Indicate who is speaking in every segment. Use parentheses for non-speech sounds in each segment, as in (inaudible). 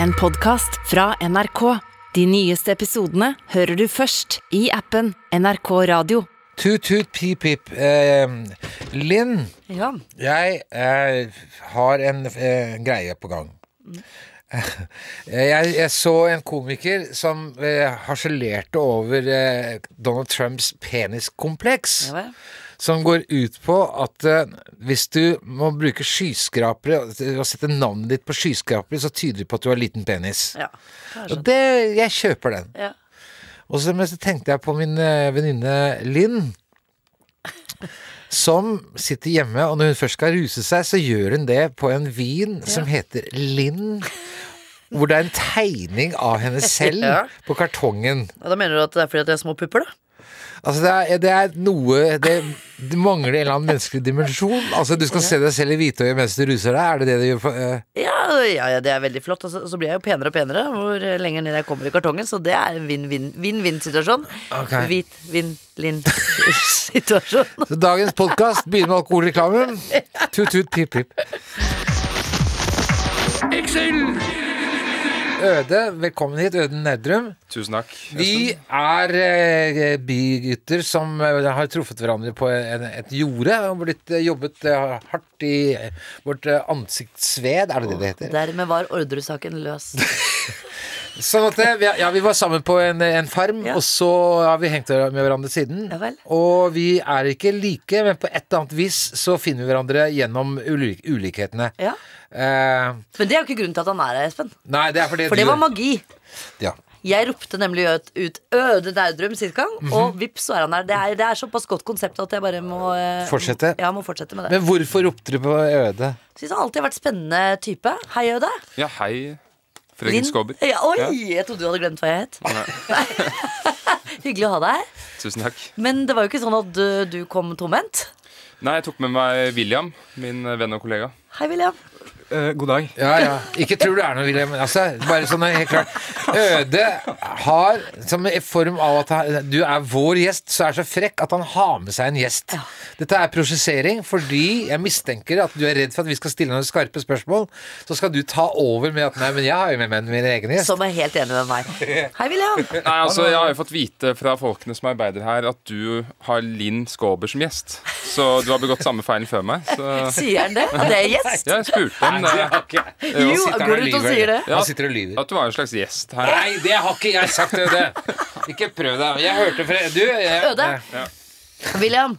Speaker 1: En podcast fra NRK. De nyeste episodene hører du først i appen NRK Radio.
Speaker 2: Tut-tut, pip-pip. Eh, Linn,
Speaker 1: Ja,
Speaker 2: jeg eh, har en eh, greie på gang. Eh, Jeg, jeg så en komiker som eh, harselerte over eh, Donald Trumps peniskompleks.
Speaker 1: ja vel.
Speaker 2: Som går ut på at eh, hvis du må bruke skyskrapere og sette navnet ditt på skyskrapere, så tyder det på at du har liten penis.
Speaker 1: Ja,
Speaker 2: Og det, jeg kjøper den.
Speaker 1: ja.
Speaker 2: Og så, men så tenkte jeg på min eh, venninne Linn. Som sitter hjemme, og når hun først skal ruse seg, så gjør hun det på en vin som heter Linn. Hvor det er en tegning av henne selv
Speaker 3: Ja.
Speaker 2: på kartongen.
Speaker 3: Ja, Da mener du at det er fordi at jeg har små pupper, da?
Speaker 2: Altså det er, det er noe det, det mangler en eller annen menneskelig dimensjon. Altså Du skal se deg selv i hvitøyet mens du ruser deg. Er det det du gjør? For, eh,
Speaker 3: Ja, ja, ja det er veldig flott. Og så, så blir jeg jo penere og penere hvor eh, lenger ned jeg kommer i kartongen, så det er en vinn-vinn-vinn-vinn-situasjon.
Speaker 2: Ok.
Speaker 3: Hvit, vinn, linn (laughs) situasjon.
Speaker 2: Så dagens podkast begynner med alkoholreklamen. Tut-tut, pip-pip. Øde, velkommen hit. Øden Nerdrum.
Speaker 4: Tusen takk.
Speaker 2: Vi er eh, bygutter som eh, har truffet hverandre på en, et jorde og blitt eh, jobbet eh, hardt i eh, vårt eh, ansiktsved, er det det det heter?
Speaker 3: Dermed var ordresaken løs.
Speaker 2: Sånn at eh, vi, ja, vi var sammen på en, en farm,
Speaker 3: Ja.
Speaker 2: og så har vi hengt med hverandre siden.
Speaker 3: Ja vel.
Speaker 2: Og vi er ikke like, men på et eller annet vis så finner vi hverandre gjennom ulik ulikhetene.
Speaker 3: Ja.
Speaker 2: Eh,
Speaker 3: Men det er jo ikke grunnen til at han er her, Espen.
Speaker 2: nei, det er fordi
Speaker 3: For det
Speaker 2: du-
Speaker 3: var magi.
Speaker 2: ja.
Speaker 3: Jeg ropte nemlig ut, ut Øde Naudrum sist gang,
Speaker 2: Mhm.
Speaker 3: og vips, så er han der. Det er, det er såpass godt konsept at jeg bare må eh,
Speaker 2: Fortsette.
Speaker 3: Ja, må fortsette med det.
Speaker 2: Men hvorfor ropte du på Øde?
Speaker 3: Syns han alltid har vært spennende type. Hei, Øde.
Speaker 4: Ja, hei. Fredrik
Speaker 3: Linn-
Speaker 4: Skåber.
Speaker 3: Ja, oi,
Speaker 4: Ja.
Speaker 3: jeg trodde du hadde glemt hva jeg het.
Speaker 4: Nei,
Speaker 3: (laughs) Hyggelig å ha deg her.
Speaker 4: tusen takk.
Speaker 3: Men det var jo ikke sånn at du, du kom tomhendt.
Speaker 4: Nei, jeg tok med meg William, min venn og kollega.
Speaker 3: Hei, William.
Speaker 4: Eh, god dag.
Speaker 2: Ja, ja. Ikke tror det er noe, William. men Altså, bare sånn helt klart. Øde har, som i form av at han- du er vår gjest, så er så frekk at han har med seg en gjest. Dette er prosessering, fordi jeg mistenker at du er redd for at vi skal stille noen skarpe spørsmål. Så skal du ta over med at 'nei, men jeg har jo med meg min egen gjest'.
Speaker 3: Som er helt enig med meg. Hei, William.
Speaker 4: Nei, altså, Jeg har jo fått vite fra folkene som arbeider her, at du har Linn Skåber som gjest. Så du har begått samme feilen før meg. Så
Speaker 3: Sier han det? At jeg er gjest?
Speaker 4: ja, jeg spurte om det.
Speaker 2: Jo,
Speaker 3: Jo,
Speaker 2: sitter han
Speaker 3: går
Speaker 2: og
Speaker 3: ut og
Speaker 2: lyver.
Speaker 3: sier det.
Speaker 2: Han sitter og lyver.
Speaker 4: At du var en slags gjest her.
Speaker 2: Nei, det har ikke jeg sagt, Øde. Ikke prøv deg. Jeg hørte fra Du, jeg,
Speaker 3: Øde.
Speaker 4: Ja.
Speaker 3: William,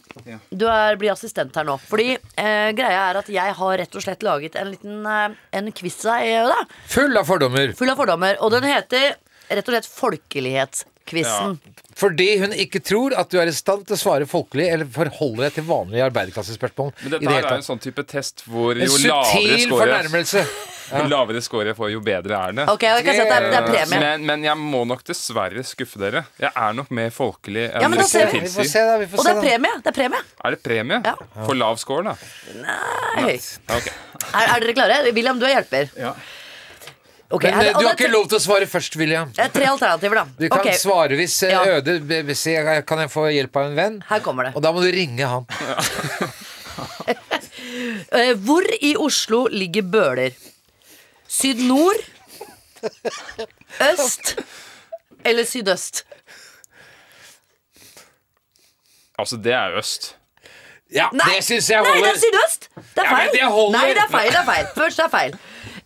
Speaker 3: du er, blir assistent her nå. Fordi eh, greia er at jeg har rett og slett laget en liten eh, En quiz til deg, Øde.
Speaker 2: Full av fordommer.
Speaker 3: Full av fordommer. Og den heter rett og slett Folkelighetsquizen.
Speaker 2: Fordi hun ikke tror at du er i stand til å svare folkelig eller forholde deg til vanlige arbeiderklassespørsmål.
Speaker 4: Men
Speaker 2: i
Speaker 4: dette
Speaker 2: det
Speaker 4: her
Speaker 2: hele
Speaker 4: er jo en
Speaker 2: tatt.
Speaker 4: sånn type test hvor
Speaker 2: En
Speaker 4: jo lavere
Speaker 2: subtil
Speaker 4: score jeg,
Speaker 2: fornærmelse.
Speaker 4: jo lavere score jeg får, jo bedre er det.
Speaker 3: Ok, og jeg kan si at det er, det er premie.
Speaker 4: Men, men jeg må nok dessverre skuffe dere. Jeg er nok mer folkelig enn
Speaker 3: Ja, men da
Speaker 4: dere
Speaker 3: ser vi.
Speaker 2: Vi
Speaker 4: tilsier.
Speaker 2: får se, da. Vi
Speaker 3: Og
Speaker 2: får se,
Speaker 3: det er
Speaker 2: da.
Speaker 3: premie. Det er premie.
Speaker 4: Er det premie?
Speaker 3: Ja.
Speaker 4: For lav score, da?
Speaker 3: Hei.
Speaker 4: Ja, ok.
Speaker 3: Er, er dere klare? William, du er hjelper.
Speaker 5: Ja.
Speaker 3: Ok,
Speaker 2: Men
Speaker 3: her-
Speaker 2: eh,
Speaker 3: og
Speaker 2: du har
Speaker 3: det er
Speaker 2: ikke lov til å svare først, William.
Speaker 3: tre- Det er tre alternativer, da.
Speaker 2: Du kan
Speaker 3: Ok,
Speaker 2: svare hvis eh,
Speaker 3: Ja.
Speaker 2: Øde be- be- sier kan jeg få hjelp av en venn.
Speaker 3: Her kommer det.
Speaker 2: Og da må du ringe han.
Speaker 3: Eh, Hvor i Oslo ligger Bøler? Syd-nord? Øst? Eller sydøst?
Speaker 4: Altså, det er øst.
Speaker 2: Ja,
Speaker 3: Nei,
Speaker 2: det syns jeg
Speaker 3: Nei, det er
Speaker 2: holder.
Speaker 3: sydøst! Det er
Speaker 2: Ja, men
Speaker 3: feil.
Speaker 2: det holder.
Speaker 3: Nei, det er feil. det er feil Først er feil.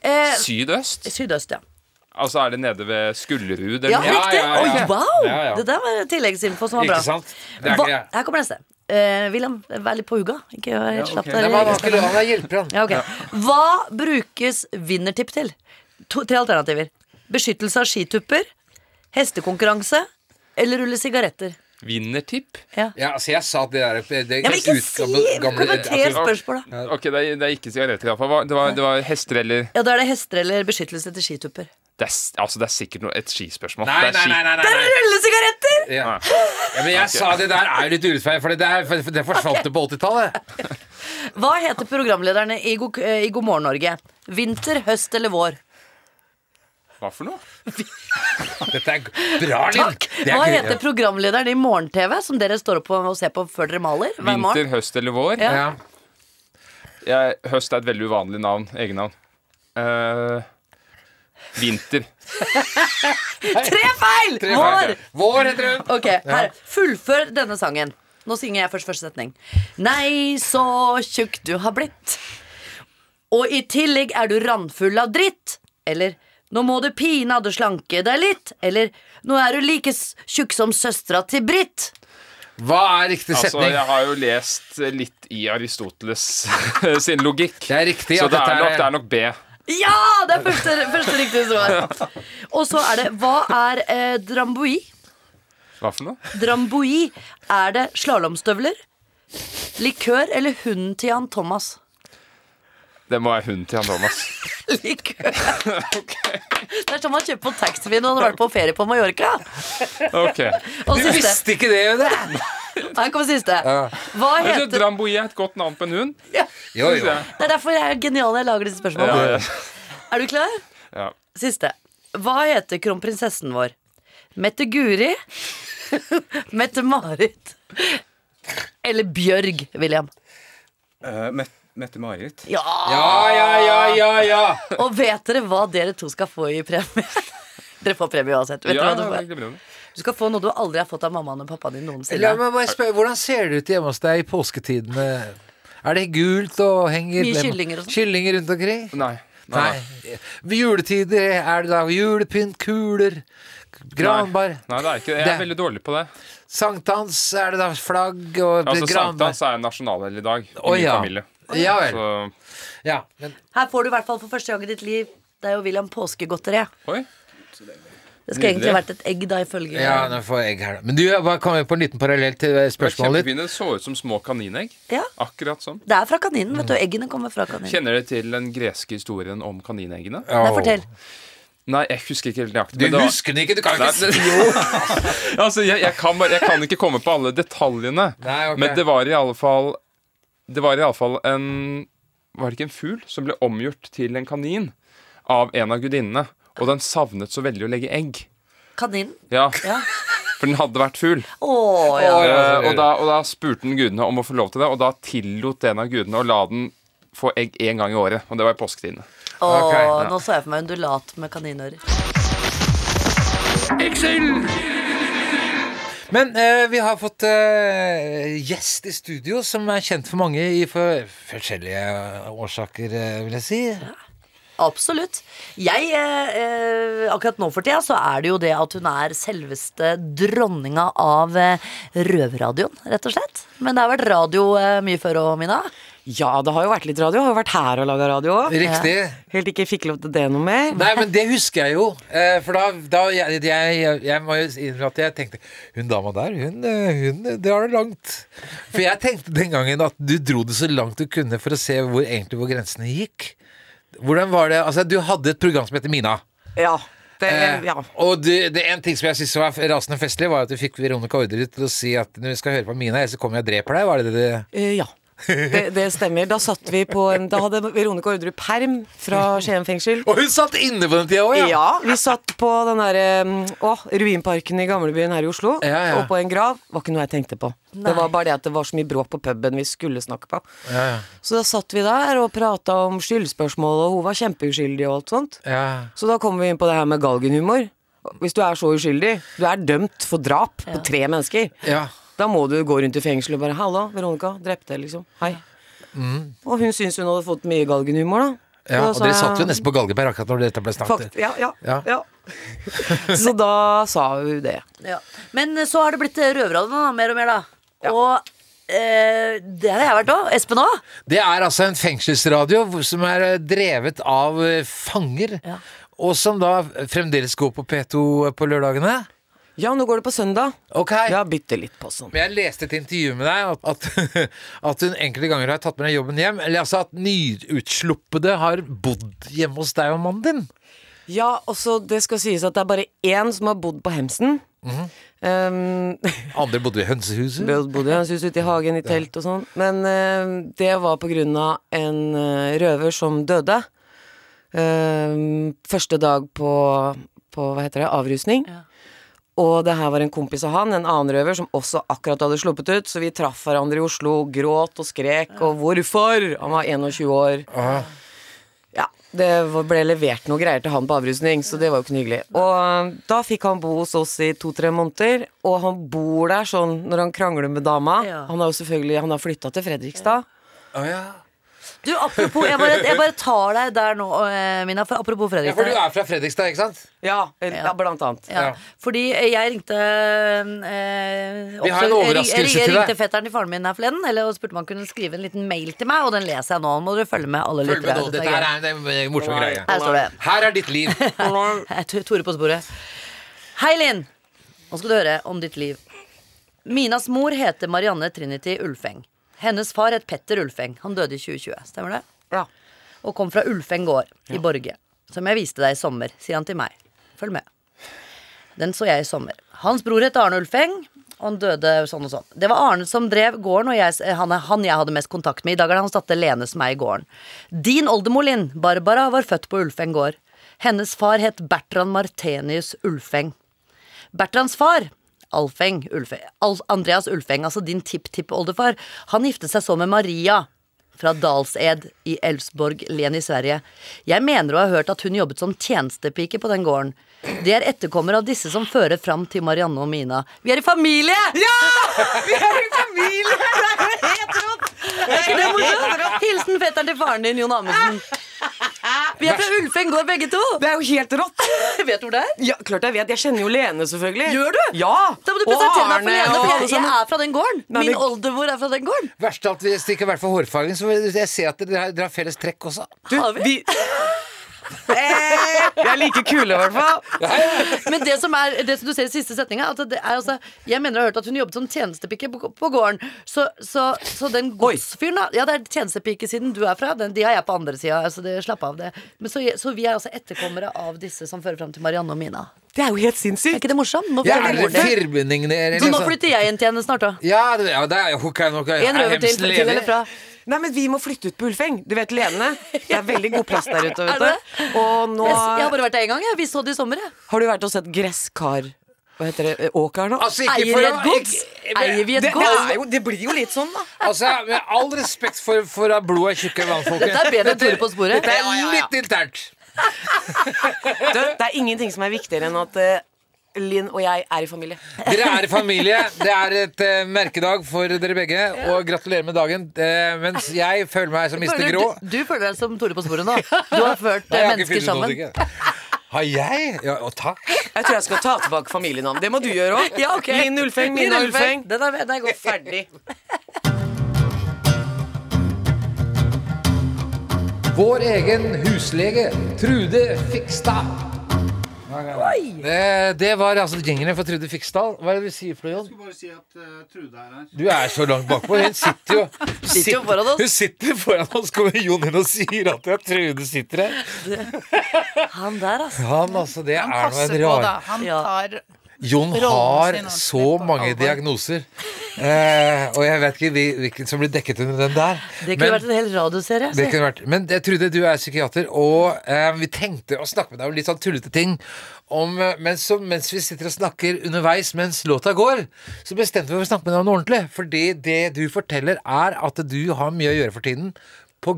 Speaker 3: Eh,
Speaker 4: Sydøst?
Speaker 3: sydøst, ja.
Speaker 4: Altså, er det nede ved Skullerud? Eller?
Speaker 3: Ja,
Speaker 4: noe?
Speaker 2: Ja,
Speaker 3: riktig!
Speaker 2: ja, ja.
Speaker 3: Oi, wow!
Speaker 2: Ja, ja.
Speaker 3: Det der var tilleggsinfo som var bra.
Speaker 2: Ikke sant? Det er
Speaker 3: Hva-
Speaker 2: ikke jeg.
Speaker 3: Her kommer neste. Eh, William, vær litt på hugga. Ikke vær helt slapp.
Speaker 2: Nei,
Speaker 3: der.
Speaker 2: men han, skulle, han er hjelper, han.
Speaker 3: Ja, ok. Hva brukes vinnertipp til? To, tre alternativer. Beskyttelse av skitupper, hestekonkurranse eller rulle sigaretter.
Speaker 4: Vinnertipp?
Speaker 3: Ja.
Speaker 2: Ja, altså, jeg sa at det der det, det
Speaker 3: Jeg vil ikke
Speaker 2: ut-
Speaker 3: si
Speaker 2: gamle-
Speaker 3: Kommenter
Speaker 2: at du-
Speaker 3: spørsmålet.
Speaker 4: Ok, det er, det er ikke sigaretter, iallfall. Hva- Det, var- det var hester eller
Speaker 3: Ja, da er det hester eller beskyttelse til skitupper.
Speaker 4: det er, s- Altså, det er sikkert noe, et skispørsmål.
Speaker 2: Nei,
Speaker 4: det
Speaker 2: nei,
Speaker 4: er
Speaker 2: nei, nei, nei, nei.
Speaker 3: Rulle sigaretter!
Speaker 2: Ja.
Speaker 4: Ja.
Speaker 2: Ja, men jeg sa det der er jo litt urettferdig, for det, der, for det forsvant jo på 80-tallet.
Speaker 3: Hva heter programlederne i God, eh, i God morgen Norge? Vinter, høst eller vår?
Speaker 4: Hva for noe?
Speaker 2: Dette er g- bra, Linn.
Speaker 3: Takk!
Speaker 2: Det er
Speaker 3: Hva
Speaker 2: gøy.
Speaker 3: heter programlederen i morgen-TV, som dere står opp og ser på før dere maler? hver
Speaker 4: Vinter,
Speaker 3: morgen?
Speaker 4: høst eller vår?
Speaker 3: Ja.
Speaker 2: Ja.
Speaker 4: Jeg, høst er et veldig uvanlig navn. Egennavn. Eh, Vinter.
Speaker 3: Tre feil!
Speaker 2: Tre
Speaker 3: Vår!
Speaker 2: feil. Vår heter hun!
Speaker 3: Ok, her, Fullfør denne sangen. Nå synger jeg først første setning. Nei, så tjukk du har blitt. Og i tillegg er du randfull av dritt. Eller nå må du pinadø slanke deg litt. Eller nå er du like s- tjukk som søstera til Britt.
Speaker 2: Hva er riktig
Speaker 4: Altså,
Speaker 2: setning?
Speaker 4: jeg har jo lest litt i Aristoteles (laughs) sin logikk.
Speaker 2: Det er riktig
Speaker 4: Så
Speaker 2: at
Speaker 4: det
Speaker 2: dette
Speaker 4: er
Speaker 2: er-
Speaker 4: nok, det er nok B.
Speaker 3: Ja! Det er første, første riktige svar. Og så er det Hva er eh, dramboi?
Speaker 4: Hva for noe?
Speaker 3: Dramboi. Er det slalåmstøvler, likør eller hunden til Jan Thomas?
Speaker 4: Det må være hunden til han Thomas. (laughs)
Speaker 3: Likør. Det er som å kjøpe på taxfree når du har vært på ferie på Mallorca.
Speaker 2: (laughs)
Speaker 4: Ok.
Speaker 3: Og
Speaker 2: Du
Speaker 3: siste.
Speaker 2: visste ikke det, Une!
Speaker 3: Her kommer siste. Hva
Speaker 4: Jeg synes
Speaker 3: heter
Speaker 4: Dramboie er et godt navn på en hund.
Speaker 3: ja,
Speaker 2: Jo,
Speaker 4: synes
Speaker 2: jo.
Speaker 4: jeg.
Speaker 3: Det er derfor jeg er genial når jeg lager disse
Speaker 4: Ja,
Speaker 3: spørsmålene.
Speaker 4: ja.
Speaker 3: Er du klar?
Speaker 4: Ja.
Speaker 3: Siste. Hva heter kronprinsessen vår? Mette Guri? (laughs) Mette-Marit? Eller Bjørg, William?
Speaker 5: Eh, Met Mette-Marit.
Speaker 3: Ja!
Speaker 2: Ja, ja, ja, ja, ja.
Speaker 3: Og vet dere hva dere to skal få i premie? (laughs) Dere får premie uansett. Vet
Speaker 4: Ja,
Speaker 3: dere hva
Speaker 4: det er
Speaker 3: du, får?
Speaker 4: glimrende.
Speaker 3: du skal få noe du aldri har fått av mammaen og pappaen din
Speaker 2: La
Speaker 3: noensinne.
Speaker 2: meg bare spørre, Hvordan ser det ut hjemme hos deg i påsketidene? Er det gult og henger
Speaker 3: Mye kyllinger og sånn.
Speaker 2: kyllinger rundt omkring?
Speaker 4: Nei. Nei.
Speaker 2: Nei. Ved juletider er det da julepynt, kuler, granbar.
Speaker 4: Nei, det er ikke det. Jeg er veldig dårlig på det.
Speaker 2: Sankthans er det da flagg og
Speaker 4: Altså,
Speaker 2: granbar.
Speaker 4: Sankthans er en nasjonalhelligdag i
Speaker 2: Å,
Speaker 4: min
Speaker 2: ja.
Speaker 4: familie.
Speaker 2: Ja vel.
Speaker 4: Så,
Speaker 2: Ja, men
Speaker 3: Her får du i hvert fall for første gang i ditt liv Det er jo William påskegodteri.
Speaker 4: oi.
Speaker 3: Det skulle
Speaker 4: Nydelig.
Speaker 3: egentlig vært et egg, da, ifølge
Speaker 2: Ja, nå får jeg egg her da. Men du, jeg bare kom på en liten parallell til eh,
Speaker 4: Det var
Speaker 2: spørsmålet ditt.
Speaker 4: kjempefine. Det så ut som små kaninegg.
Speaker 3: Ja,
Speaker 4: Akkurat sånn.
Speaker 3: Det er fra kaninen, vet du. Eggene kommer fra kaninen.
Speaker 4: Kjenner dere til den greske historien om kanineggene?
Speaker 3: Nei, fortell.
Speaker 4: Nei, jeg husker ikke helt nøyaktig.
Speaker 2: Du
Speaker 4: men det var-
Speaker 2: husker den ikke, du kan
Speaker 4: Nei,
Speaker 2: ikke si
Speaker 4: men- (laughs) altså, jeg, jeg, kan bare, jeg kan ikke komme på alle detaljene.
Speaker 2: Nei, ok.
Speaker 4: Men det var i alle fall Det var i alle fall en Var det ikke en fugl som ble omgjort til en kanin av en av gudinnene? Og den savnet så veldig å legge egg.
Speaker 3: Kaninen?
Speaker 4: Ja,
Speaker 3: Ja.
Speaker 4: For den hadde vært fugl.
Speaker 3: Å,
Speaker 2: Å,
Speaker 3: ja.
Speaker 2: ja,
Speaker 4: Eh,
Speaker 2: selvfølgelig.
Speaker 4: og, da, og da spurte den gudene om å få lov til det, og da tillot en av gudene å la den få egg én gang i året. Og det var i påsketidene.
Speaker 3: Å,
Speaker 2: Ok, ja.
Speaker 3: Nå så jeg for meg undulat med kaninører.
Speaker 2: Men eh, vi har fått eh, gjest i studio som er kjent for mange i for forskjellige årsaker, eh, vil jeg si.
Speaker 3: Absolutt. Jeg, eh, eh, akkurat nå for tida, så er det jo det at hun er selveste dronninga av eh, røverradioen, rett og slett. Men det har vært radio eh, mye før òg, Mina.
Speaker 6: Ja, det har jo vært litt radio. Jeg Har jo vært her og laga radio òg.
Speaker 2: Riktig.
Speaker 6: Helt ikke fikk lov til det noe mer.
Speaker 2: Nei, men det husker jeg jo. eh, For da, da jeg, jeg, jeg, jeg må jo innrømme at jeg tenkte Hun dama der, hun, eh, hun drar det langt. For jeg tenkte den gangen at du dro det så langt du kunne for å se hvor egentlig hvor grensene gikk. Hvordan var det, altså Du hadde et program som heter Mina.
Speaker 6: Ja. Det,
Speaker 2: Eh,
Speaker 6: ja.
Speaker 2: Og det, det en ting som jeg syntes var rasende festlig, var at du fikk Veronica Orderud til å si at når vi skal høre på Mina, ellers så kommer jeg og dreper deg. Var det det det
Speaker 6: Eh, ja. Det, det stemmer. Da satt vi på en Da hadde Veronica Orderud perm fra Skien fengsel.
Speaker 2: Og hun satt inne på den tida òg, ja!
Speaker 6: Ja, vi satt på den derre Å, ruinparken i gamlebyen her i Oslo.
Speaker 2: Ja, ja.
Speaker 6: Og på en grav. Var ikke noe jeg tenkte på.
Speaker 3: Nei.
Speaker 6: Det var bare det at det var så mye bråk på puben vi skulle snakke på.
Speaker 2: Ja, ja.
Speaker 6: Så da satt vi der og prata om skyldspørsmål, og hun var kjempeuskyldig og alt sånt.
Speaker 2: ja.
Speaker 6: Så da kommer vi inn på det her med galgenhumor. Hvis du er så uskyldig, du er dømt for drap på tre mennesker,
Speaker 2: ja.
Speaker 6: da må du gå rundt i fengsel og bare 'hallo, Veronica, drepte, liksom. Hei'. Og hun syntes hun hadde fått mye galgenhumor, da.
Speaker 2: Mm. ja.
Speaker 6: Så da
Speaker 2: Og
Speaker 6: sa
Speaker 2: dere satt jo
Speaker 6: jeg,
Speaker 2: nesten på galgeberg akkurat når dette ble snakket.
Speaker 6: Fakt, ja, ja,
Speaker 2: Ja.
Speaker 6: ja.
Speaker 2: (laughs)
Speaker 6: så da sa hun det.
Speaker 3: Ja. Men så har det blitt eh, røverradioen da, mer og mer, da. Og eh, det har jeg vært òg. Espen òg.
Speaker 2: Det er altså en fengselsradio hvor- som er eh, drevet av eh, fanger.
Speaker 3: Ja.
Speaker 2: Og som da fremdeles går på P2 på lørdagene.
Speaker 6: Ja, nå går det på søndag.
Speaker 2: Ok.
Speaker 6: Ja, bytte litt på sånn.
Speaker 2: Men jeg leste et intervju med deg at, at, (laughs) at hun enkelte ganger har tatt med deg jobben hjem. Eller altså at nyutsluppede har bodd hjemme hos deg og mannen din.
Speaker 6: Ja, og så det skal sies at det er bare én som har bodd på Hemsen.
Speaker 2: Mhm.
Speaker 6: um,
Speaker 2: Andre bodde i hønsehuset.
Speaker 6: Bodde bodde i hans hus ute i hagen i telt og sånn. Men eh, det var på grunn av en eh, røver som døde. eh, første dag på, på hva heter det, avrusning. Og det her var en kompis av han, en annen røver, som også akkurat hadde sluppet ut. Så vi traff hverandre i Oslo, gråt og skrek og 'hvorfor?' Han var 21 år. Ja, det var- ble levert noe greier til han på avrusning, så det var jo ikke noe hyggelig. Og um, da fikk han bo hos oss i to-tre måneder, og han bor der sånn når han krangler med dama.
Speaker 3: Ja.
Speaker 6: Han har jo selvfølgelig Han har flytta til Fredrikstad.
Speaker 2: Å ja.
Speaker 3: Du, apropos, jeg bare, jeg bare tar deg der nå, eh, Mina. For apropos
Speaker 2: ja, for du
Speaker 3: Fredrikstad.
Speaker 2: er fra Fredrikstad, ikke sant?
Speaker 6: Ja, eller- ja, blant
Speaker 3: (laughs)
Speaker 6: annet.
Speaker 3: Ja,
Speaker 2: ja.
Speaker 3: Fordi jeg ringte eh,
Speaker 2: Vi har en
Speaker 3: oppsøk-
Speaker 2: overraskelse
Speaker 3: jeg, jeg, jeg
Speaker 2: til deg.
Speaker 3: ringte fetteren til faren min her forleden eller, og spurte om han kunne skrive en liten mail til meg, og den leser jeg nå. Nå Må dere følge med, alle
Speaker 2: Følg med nå.
Speaker 3: lyttere.
Speaker 2: Dette her er en en morsom greie.
Speaker 3: Her står det.
Speaker 2: Her er ditt liv.
Speaker 3: Jeg er Eh, Tore på sporet. Hei, Linn. Nå skal du høre om ditt liv. Minas mor heter Marianne Trinity Ulfeng. Hennes far het Petter Ulfeng. Han døde i 2020, stemmer det?
Speaker 6: Ja.
Speaker 3: Og kom fra Ulfeng gård i Borge, som jeg viste deg i sommer, sier han til meg. Følg med. Den så jeg i sommer. Hans bror het Arne Ulfeng, og han døde sånn og sånn. Det var Arne som drev gården, og jeg, han, er- han jeg hadde mest kontakt med. I dag er det hans datter Lene som er i gården. Din oldemor Linn, Barbara, var født på Ulfeng gård. Hennes far het Bertrand Martenius Ulfeng. Bertrands far, Alfeng, Ulfe, Al Andreas Ulfeng, altså din tipptippoldefar, han giftet seg så med Maria fra Dalsed i Elfsborg len i Sverige. Jeg mener å ha hørt at hun jobbet som tjenestepike på den gården. De er etterkommere av disse som fører fram til Marianne og Mina. (laughs) Vi er i familie! Ja! (laughs) Vi er i familie! Det er jo helt rått! Er ikke det morsomt? Hilsen fetteren til faren din, Jon Amundsen. Vi er fra Ulfeng gård, begge to.
Speaker 6: Det er jo helt rått!
Speaker 3: (laughs) Vet du hvor det er?
Speaker 6: Ja, klart jeg vet. Jeg kjenner jo Lene, selvfølgelig.
Speaker 3: Gjør du?
Speaker 6: Ja.
Speaker 3: Da må du
Speaker 6: Og
Speaker 3: presentere meg for
Speaker 6: Arne
Speaker 3: Lene,
Speaker 6: og
Speaker 3: for
Speaker 6: alle
Speaker 3: jeg, jeg
Speaker 6: sammen.
Speaker 3: er fra den gården.
Speaker 6: Nei,
Speaker 3: Min
Speaker 6: men-
Speaker 3: oldemor er fra den gården.
Speaker 2: Verst av alt, hvis det ikke i hvert fall hårfargen, så jeg ser at dere har, dere har felles trekk også.
Speaker 3: Har
Speaker 6: Du,
Speaker 3: vi? Eh.
Speaker 6: vi Vi er like kule, i hvert fall.
Speaker 3: Men det som, er, det som du ser i siste setninga, at det er altså Jeg mener jeg har hørt at hun jobbet som tjenestepike på, på gården. Så, så, så den godsfyren, da Ja, det er tjenestepikesiden du er fra. Den, de har jeg på andre sida, så det, slapp av det. Men så, så vi er altså etterkommere av disse som fører fram til Marianne og Mina.
Speaker 6: Det er jo helt
Speaker 3: Er
Speaker 6: sinnssykt.
Speaker 3: ikke det morsomt? Nå
Speaker 2: Ja, er
Speaker 3: flytter,
Speaker 2: dere
Speaker 3: jeg-
Speaker 2: firmeningene eller
Speaker 3: så nå
Speaker 6: liksom.
Speaker 2: sånn?
Speaker 3: flytter jeg inn til henne snart, da.
Speaker 2: Ja, det, ja, det er jo ok, nok. er
Speaker 3: En røver til,
Speaker 2: hemsen
Speaker 3: til eller
Speaker 2: ledig?
Speaker 3: fra.
Speaker 6: Nei, men vi må flytte ut på Ulfeng. Du vet Lene. Det er veldig god plass der
Speaker 3: (laughs)
Speaker 6: ute,
Speaker 3: Er det?
Speaker 6: vet du. Og nå
Speaker 3: Jeg, jeg har bare vært der én gang. Jeg. Vi så det i sommer. Jeg.
Speaker 6: Har du vært og sett gresskar Hva heter det? Åker nå?
Speaker 2: Altså, ikke
Speaker 3: Eier
Speaker 2: for
Speaker 3: vi
Speaker 2: å
Speaker 3: et gods?
Speaker 2: ikke-
Speaker 3: Eier vi et
Speaker 6: det, det,
Speaker 3: gods?
Speaker 6: er jo, det blir jo litt sånn, da.
Speaker 2: Altså, Med all respekt for, for at blodet er tjukkere enn vannfolket.
Speaker 3: Dette er bedre enn Tore på sporet.
Speaker 2: Dette
Speaker 3: Ja,
Speaker 2: er
Speaker 3: ja, ja.
Speaker 2: litt internt.
Speaker 6: Du, det er ingenting som er viktigere enn at eh, Linn og jeg er i familie.
Speaker 2: Dere er i familie. Det er et eh, merkedag for dere begge. Og gratulerer med dagen. Eh, mens jeg føler meg som Mr.
Speaker 3: Føler
Speaker 2: Grå.
Speaker 3: Du, du føler deg som Tore på sporet nå.
Speaker 2: (laughs)
Speaker 3: Du har ført
Speaker 2: Nei, jeg har
Speaker 3: eh,
Speaker 2: ikke
Speaker 3: mennesker
Speaker 2: funnet noe
Speaker 3: sammen.
Speaker 2: drikke. Har jeg? Ja, og takk.
Speaker 6: Jeg tror jeg skal ta tilbake familienavn. Det må du gjøre òg.
Speaker 3: Ja, ok.
Speaker 6: Linn Ulfeng,
Speaker 3: Linn
Speaker 6: Mina Ulfeng.
Speaker 3: Den er, den er god. Ferdig.
Speaker 2: Vår egen huslege, Trude Fikstad. Det, det var altså gjengene for Trude Fiksdal. Hva er det du sier for noe, Jon?
Speaker 7: bare si at eh, Trude er her.
Speaker 2: Du er så langt bakpå. Hun sitter jo Hun
Speaker 3: sitter jo foran oss.
Speaker 2: Hun sitter foran oss, kommer Jon inn og sier at det er Trude sitter her.
Speaker 3: (laughs) Han der, altså.
Speaker 2: Han, altså, det er
Speaker 8: Han
Speaker 2: noe
Speaker 8: passer
Speaker 2: en
Speaker 8: på,
Speaker 2: rar
Speaker 8: da. Han
Speaker 3: Ja.
Speaker 8: tar
Speaker 2: Jon
Speaker 8: Rollen
Speaker 2: har
Speaker 8: sin alltid
Speaker 2: så
Speaker 8: på
Speaker 2: mange
Speaker 8: alvor.
Speaker 2: diagnoser. Eh, og jeg vet ikke hvil- hvilken som blir dekket under den der.
Speaker 3: Det kunne
Speaker 2: men,
Speaker 3: vært en hel
Speaker 2: det
Speaker 3: radioserie. Altså.
Speaker 2: kunne vært. Men jeg Trude, du er psykiater, og eh, vi tenkte å snakke med deg om litt sånn tullete ting. Om, eh, men så, mens vi sitter og snakker underveis mens låta går, så bestemte vi oss for å snakke med deg om noe ordentlig. Fordi det du forteller, er at du har mye å gjøre for tiden pga.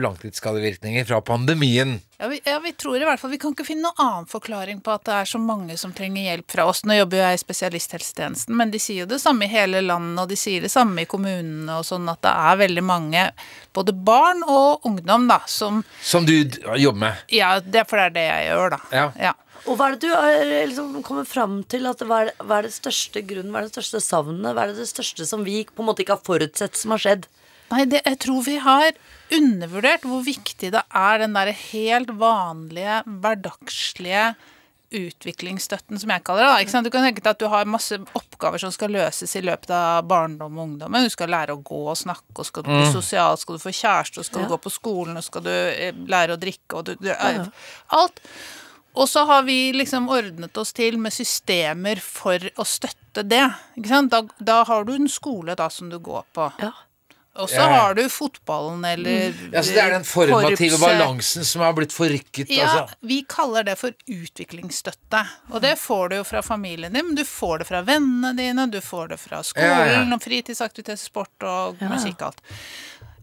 Speaker 2: langtidsskadevirkninger fra pandemien.
Speaker 8: ja vi, ja, vi tror i hvert fall Vi kan ikke finne noen annen forklaring på at det er så mange som trenger hjelp fra oss. Nå jobber jo jeg i spesialisthelsetjenesten, men de sier jo det samme i hele landet, og de sier det samme i kommunene og sånn, at det er veldig mange, både barn og ungdom, da, som
Speaker 2: Som du d- jobber med.
Speaker 8: Ja, det er for det er det jeg gjør, da.
Speaker 2: Ja.
Speaker 3: Og hva er det du har liksom, kommet fram til? At hva, er, hva er det største grunnen? Hva er det største savnet? Hva er det, det største som vi på en måte ikke har forutsett som har skjedd?
Speaker 8: Nei, det, jeg tror vi har undervurdert hvor viktig det er den derre helt vanlige, hverdagslige utviklingsstøtten, som jeg kaller det. da, ikke sant? Du kan tenke deg at du har masse oppgaver som skal løses i løpet av barndom og ungdommen. Du skal lære å gå og snakke, og skal du bli sosial, skal du få kjæreste, og skal du gå på skolen, og skal du eh, lære å drikke, og du, du Alt. Og så har vi liksom ordnet oss til med systemer for å støtte det. Ikke sant? Da, da har du en skole da som du går på.
Speaker 3: Ja.
Speaker 8: Og så
Speaker 2: Ja, ja.
Speaker 8: har du fotballen eller
Speaker 2: Mm. Ja, så det er den formative
Speaker 8: korpset.
Speaker 2: balansen som har blitt forrykket.
Speaker 8: Ja,
Speaker 2: altså.
Speaker 8: vi kaller det for utviklingsstøtte. Og det får du jo fra familien din, men du får det fra vennene dine, du får det fra skolen
Speaker 2: Ja, ja, ja.
Speaker 8: og fritidsaktivitet, sport og musikk og alt.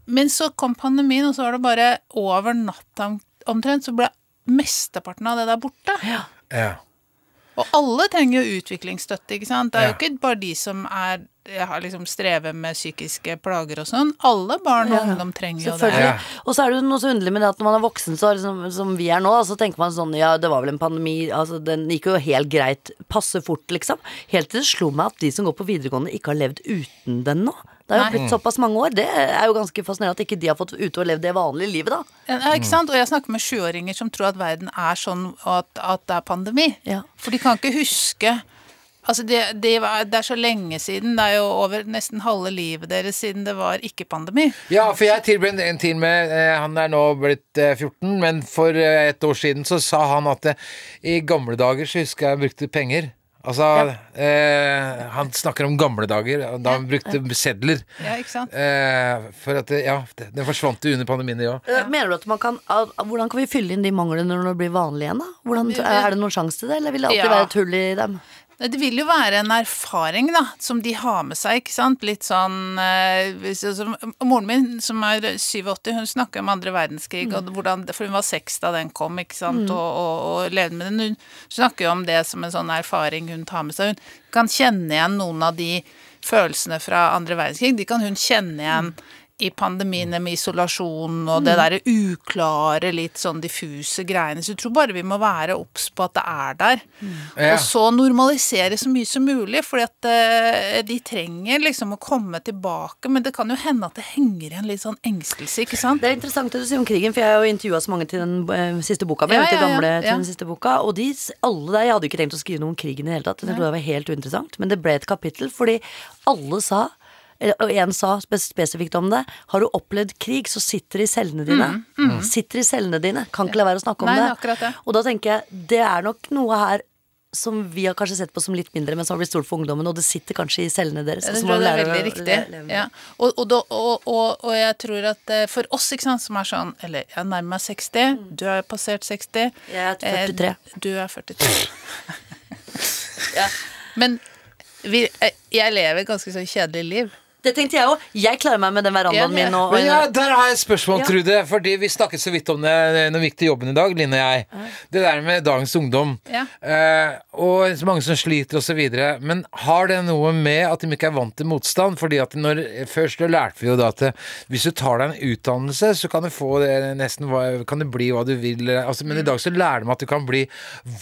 Speaker 8: Men så kom pandemien, og så var det bare over natta om- omtrent, så ble mesteparten av det der borte.
Speaker 2: Ja.
Speaker 8: Og alle trenger jo utviklingsstøtte, ikke sant. Det er
Speaker 2: Ja.
Speaker 8: jo ikke bare de som er har liksom strever med psykiske plager og sånn. Alle barn og ungdom trenger jo det.
Speaker 3: Selvfølgelig.
Speaker 2: Ja.
Speaker 3: Og så er det jo noe så underlig med det at når man er voksen, så, er det som, som vi er nå, så tenker man sånn Ja, det var vel en pandemi. Altså, den gikk jo helt greit. Passe fort, liksom. Helt til det slo meg at de som går på videregående, ikke har levd uten den nå. Det har jo
Speaker 8: Nei.
Speaker 3: blitt såpass mange år. Det er jo ganske fascinerende at ikke de har fått ute og levd det vanlige livet, da.
Speaker 8: Ja, ikke sant? Og jeg snakker med sjuåringer som tror at verden er sånn, og at, at det er pandemi.
Speaker 3: Ja.
Speaker 8: For de kan ikke huske Altså, det, det, var, det er så lenge siden. Det er jo over nesten halve livet deres siden det var ikke-pandemi.
Speaker 2: Ja, for jeg tilbrakte en tid med eh, Han er nå blitt eh, 14, men for eh, et år siden så sa han at eh, i gamle dager så husker jeg jeg brukte penger. Altså, eh, han snakker om gamle dager, og da han brukte sedler.
Speaker 8: Ja, ikke sant?
Speaker 2: Eh, for at, det- ja, det- den forsvant jo under pandemien, det òg.
Speaker 3: Eh, Mener du at man kan ah, Hvordan kan vi fylle inn de manglene når det blir vanlig igjen, da? Hvordan, er det noen sjanse til det, eller vil det alltid
Speaker 8: Ja.
Speaker 3: være et hull i dem?
Speaker 8: Det vil jo være en erfaring da, som de har med seg, ikke sant? Litt sånn eh, hvis- altså, Moren min, som er 87, hun snakker om andre verdenskrig, og hvordan, for hun var seks da den kom, ikke sant, og, og, og levde med den. Hun snakker jo om det som en sånn erfaring hun tar med seg. Hun kan kjenne igjen noen av de følelsene fra andre verdenskrig. De kan hun kjenne igjen i pandemien det med isolasjon og det derre uklare, litt sånn diffuse greiene. Så jeg tror bare vi må være obs på at det er der.
Speaker 2: Ja.
Speaker 8: Og så normalisere så mye som mulig, fordi at eh, de trenger liksom å komme tilbake. Men det kan jo hende at det henger igjen litt sånn engstelse, ikke sant?
Speaker 3: Det er interessant det du sier om krigen, for jeg har jo intervjua så mange til den eh, siste boka mi.
Speaker 8: Ja,
Speaker 3: til
Speaker 8: ja, ja,
Speaker 3: gamle til
Speaker 8: ja.
Speaker 3: den siste boka Og de, s- alle der, jeg hadde jo ikke tenkt å skrive noe om krigen i det hele tatt. Jeg trodde det var helt uinteressant Men det ble et kapittel fordi alle sa eller- og en sa spe- spesifikt om det. Har du opplevd krig, så sitter det i cellene dine.
Speaker 2: Mm.
Speaker 3: Sitter i cellene dine. Kan ikke la være å snakke om
Speaker 8: Mm, Nei, det er
Speaker 3: det.
Speaker 8: akkurat det.
Speaker 3: Og da tenker jeg, det er nok noe her som vi har kanskje sett på som litt mindre, men som har blitt stort for ungdommen, og det sitter kanskje i cellene deres.
Speaker 8: Det
Speaker 3: og så
Speaker 8: tror
Speaker 3: må
Speaker 8: jeg
Speaker 3: sånn man
Speaker 8: det
Speaker 3: lære
Speaker 8: er
Speaker 3: å
Speaker 8: veldig riktig.
Speaker 3: le- leve med det.
Speaker 8: Ja. Og, og, da, og, og, og jeg tror at eh, for oss ikke sant, som er sånn Eller jeg nærmer meg 60, du har passert 60.
Speaker 3: Mm. Jeg er 43.
Speaker 8: Eh, du er 43. (laughs) Men vi, eh, jeg lever et ganske sånn kjedelig liv.
Speaker 3: Det tenkte jeg òg. Jeg klarer meg med den
Speaker 8: Ja,
Speaker 3: verandaen
Speaker 8: det-
Speaker 3: min. Og,
Speaker 2: Men ja, der har jeg et spørsmål,
Speaker 3: Ja.
Speaker 2: Trude. Fordi vi snakket så vidt om det eh, når vi gikk til jobben i dag, Line og jeg. Det der med dagens ungdom.
Speaker 8: Ja.
Speaker 2: Eh, og så mange som sliter osv. Men har det noe med at de ikke er vant til motstand? Fordi at når, Først så lærte vi jo da at eh, hvis du tar deg en utdannelse, så kan du få det nesten hva- Kan det bli hva du vil. eh, Altså,
Speaker 8: Mm.
Speaker 2: men i dag så lærer de at du kan bli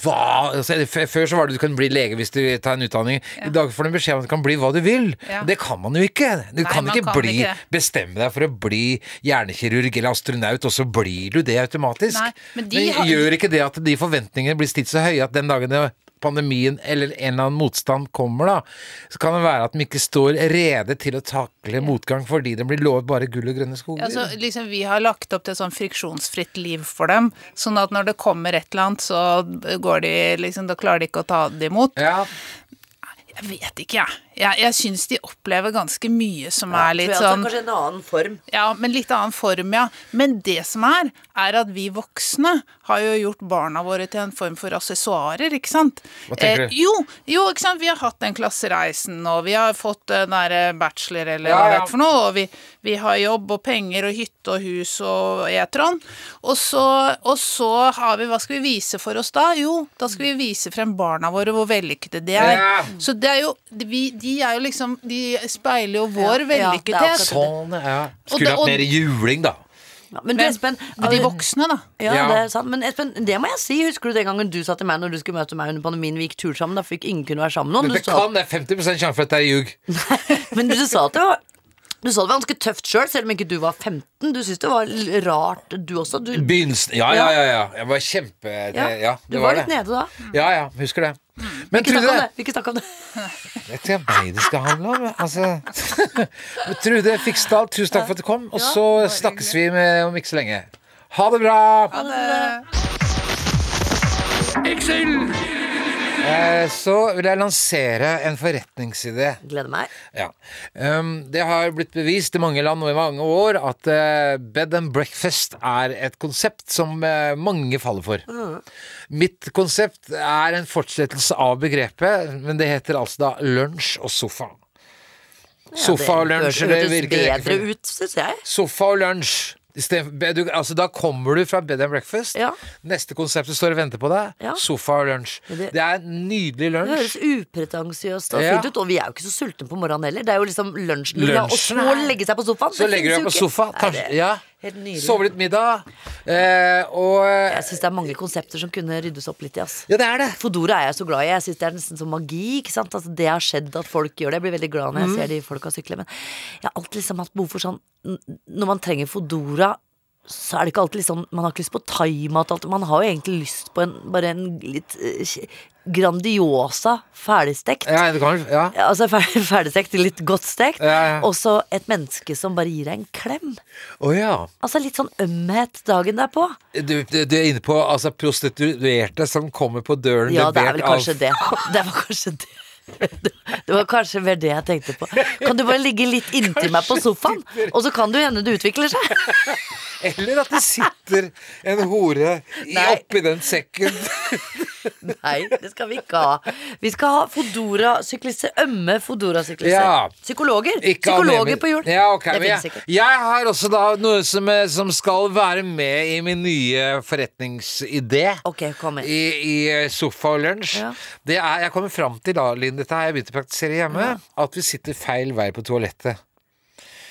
Speaker 2: hva altså, f- Før så var det du kan bli lege hvis du tar en utdanning. I dag får du beskjed om at du kan bli hva du vil.
Speaker 8: Ja.
Speaker 2: Det kan man jo ikke. Du kan
Speaker 8: man
Speaker 2: ikke
Speaker 8: kan
Speaker 2: bli
Speaker 8: ikke det.
Speaker 2: bestemme deg for å bli hjernekirurg eller astronaut, og så blir du det automatisk.
Speaker 8: Nei, men de har-
Speaker 2: gjør ikke det at de forventningene blir stilt så høye at den dagen det- pandemien eller en eller annen motstand kommer, da, så kan det være at de ikke står rede til å takle motgang fordi de blir lovet bare gull og grønne skoger.
Speaker 8: Altså, liksom, vi har lagt opp til et sånn friksjonsfritt liv for dem, sånn at når det kommer et eller annet, så går de liksom, da klarer de ikke å ta det imot.
Speaker 2: ja,
Speaker 8: Jeg vet ikke, jeg. Jeg, jeg syns de opplever ganskje mye som er
Speaker 3: tror
Speaker 8: litt
Speaker 3: jeg, altså,
Speaker 8: sånn
Speaker 3: Kanskje en annen form.
Speaker 8: Ja, men litt annen form, ja. Men det som er, er at vi voksne har jo gjort barna våre til en form for assessoarer, ikke sant?
Speaker 2: Hva tenker du?
Speaker 8: Eh, jo, jo, ikke sant. Vi har hatt den klassereisen, og vi har fått eh, den derre bachelor, eller
Speaker 2: Ja,
Speaker 8: hva det
Speaker 2: ja.
Speaker 8: er for noe, og vi, vi har jobb og penger og hytte og hus og etron. Og så, og så har vi Hva skal vi vise for oss da? Jo, da skal vi vise frem barna våre hvor vellykkede de er.
Speaker 2: Ja.
Speaker 8: Så det er jo vi, De er jo liksom De speiler jo
Speaker 3: ja, det
Speaker 8: vår
Speaker 3: er
Speaker 8: vellykkethet.
Speaker 3: akkurat
Speaker 2: sånn, ja.
Speaker 8: Og
Speaker 2: Skulle
Speaker 8: da- og-
Speaker 2: hatt mer juling, da.
Speaker 3: Ja, men du,
Speaker 8: Men
Speaker 3: Espen,
Speaker 8: de voksne, da.
Speaker 3: ja,
Speaker 2: Ja.
Speaker 3: Det er sant. Men Espen, det må jeg si. Husker du den gangen du sa til meg når du skulle møte meg under pandemien, vi gikk tur sammen, da fikk ingen kunne være sammen med
Speaker 2: Men
Speaker 3: noen?
Speaker 2: det
Speaker 3: Du sa,
Speaker 2: kan, det er 50 sjanse for at det er ljug.
Speaker 3: men du sa at det var du sa det var ganske tøft sjøl, selv, om ikke du var 15. Du syntes det var l- rart, du også. Du,
Speaker 2: Begynnelsen Ja, ja, ja. ja. Jeg var kjempe...
Speaker 3: ja,
Speaker 2: Ja,
Speaker 3: du
Speaker 2: det
Speaker 3: var
Speaker 2: var
Speaker 3: litt
Speaker 2: det.
Speaker 3: nede da.
Speaker 2: Ja, ja. Husker det. Men
Speaker 3: Ikke snakk om
Speaker 2: Trude,
Speaker 3: det. Vi ikke snakke om det.
Speaker 2: Vet ikke hva meg det skal handle om. Altså. (laughs) Men Trude Fiksdal, tusen takk for at du kom. Og så snakkes vi med om ikke så lenge. Ha det bra! Eh, Så vil jeg lansere en forretningsidé.
Speaker 3: Gleder meg.
Speaker 2: Ja. Um, det har blitt bevist i mange land og i mange år at eh, bed and breakfast er et konsept som eh, mange faller for.
Speaker 3: Ah.
Speaker 2: Mitt konsept er en fortsettelse av begrepet, men det heter altså da lunsj og sofa. Sofa og lunsj,
Speaker 3: Det
Speaker 2: det
Speaker 3: høres
Speaker 2: virker
Speaker 3: bedre
Speaker 2: rekkefølge.
Speaker 3: ut, syns jeg.
Speaker 2: Sofa og lunsj. I stedet for bed- du- Altså, da kommer du fra bed and breakfast.
Speaker 3: Ja.
Speaker 2: Neste konseptet står og venter på deg.
Speaker 3: Ja.
Speaker 2: Sofa og lunsj.
Speaker 3: det-
Speaker 2: Det, er en nydelig
Speaker 3: Det høres
Speaker 2: lunsj.
Speaker 3: upretensiøst og
Speaker 2: Ja.
Speaker 3: fint ut, og vi er jo ikke så sultne på morgenen heller. Det er jo liksom lunsjen. vi vil ha, Og
Speaker 2: Lunsjen
Speaker 3: så
Speaker 2: er-
Speaker 3: legge seg på sofaen.
Speaker 2: Så
Speaker 3: det
Speaker 2: legger du deg
Speaker 3: finnes
Speaker 2: på
Speaker 3: jo ikke.
Speaker 2: sofa,
Speaker 3: Nei,
Speaker 2: kanskje,
Speaker 3: det-
Speaker 2: ja.
Speaker 3: Helt nydelig.
Speaker 2: sove litt middag, eh, og
Speaker 3: Jeg syns det er mange konsepter som kunne ryddes opp litt i. ass
Speaker 2: Ja, det er det.
Speaker 3: Fodora er jeg så glad i. Jeg synes Det er nesten som magi. ikke sant? Altså, det har skjedd at folk gjør det. Jeg blir veldig
Speaker 2: Mm.
Speaker 3: glad når jeg ser de folka sykle. Men jeg har alltid liksom hatt behov for sånn n- Når man trenger Fodora, så er det ikke alltid liksom Man har ikke lyst på thaimat. og alt. Man har jo egentlig lyst på en, bare en litt eh, kje- Grandiosa ferdigstekt.
Speaker 2: Ja, du kan vel Ja.
Speaker 3: Altså fer- (laughs) ferdigstekt, litt godt stekt.
Speaker 2: Ja, ja.
Speaker 3: Og så et menneske som bare gir deg en klem.
Speaker 2: Å ja.
Speaker 3: Altså Litt sånn ømhet dagen derpå.
Speaker 2: Du, du, du er inne på altså, prostituerte som kommer på døren
Speaker 3: Ja, det er
Speaker 2: levert
Speaker 3: vel
Speaker 2: av-
Speaker 3: kanskje det. (laughs) Det var kanskje det. Det var kanskje mer det jeg tenkte på. Kan du bare ligge litt inntil meg på sofaen, og så kan det jo hende det utvikler seg? (laughs)
Speaker 2: Eller at det sitter en hore i-
Speaker 3: Nei.
Speaker 2: oppi den sekken.
Speaker 3: Nei, det skal vi ikke ha. Vi skal ha Fodora-syklister. Ømme Fodora-syklister.
Speaker 2: Ja.
Speaker 3: Psykologer.
Speaker 2: Ikke
Speaker 3: Psykologer
Speaker 2: anonyme.
Speaker 3: på hjul.
Speaker 2: Ja, ok,
Speaker 3: det
Speaker 2: men
Speaker 3: finnes
Speaker 2: jeg,
Speaker 3: ikke.
Speaker 2: jeg har også da noe som, eh, som skal være med i min nye forretningsidé.
Speaker 3: Ok, kom igjen.
Speaker 2: I, i eh, sofa og lunsj.
Speaker 3: Ja.
Speaker 2: Det er, jeg kommer fram til da, Linn, dette har jeg begynt å praktisere hjemme, at vi sitter feil vei på toalettet.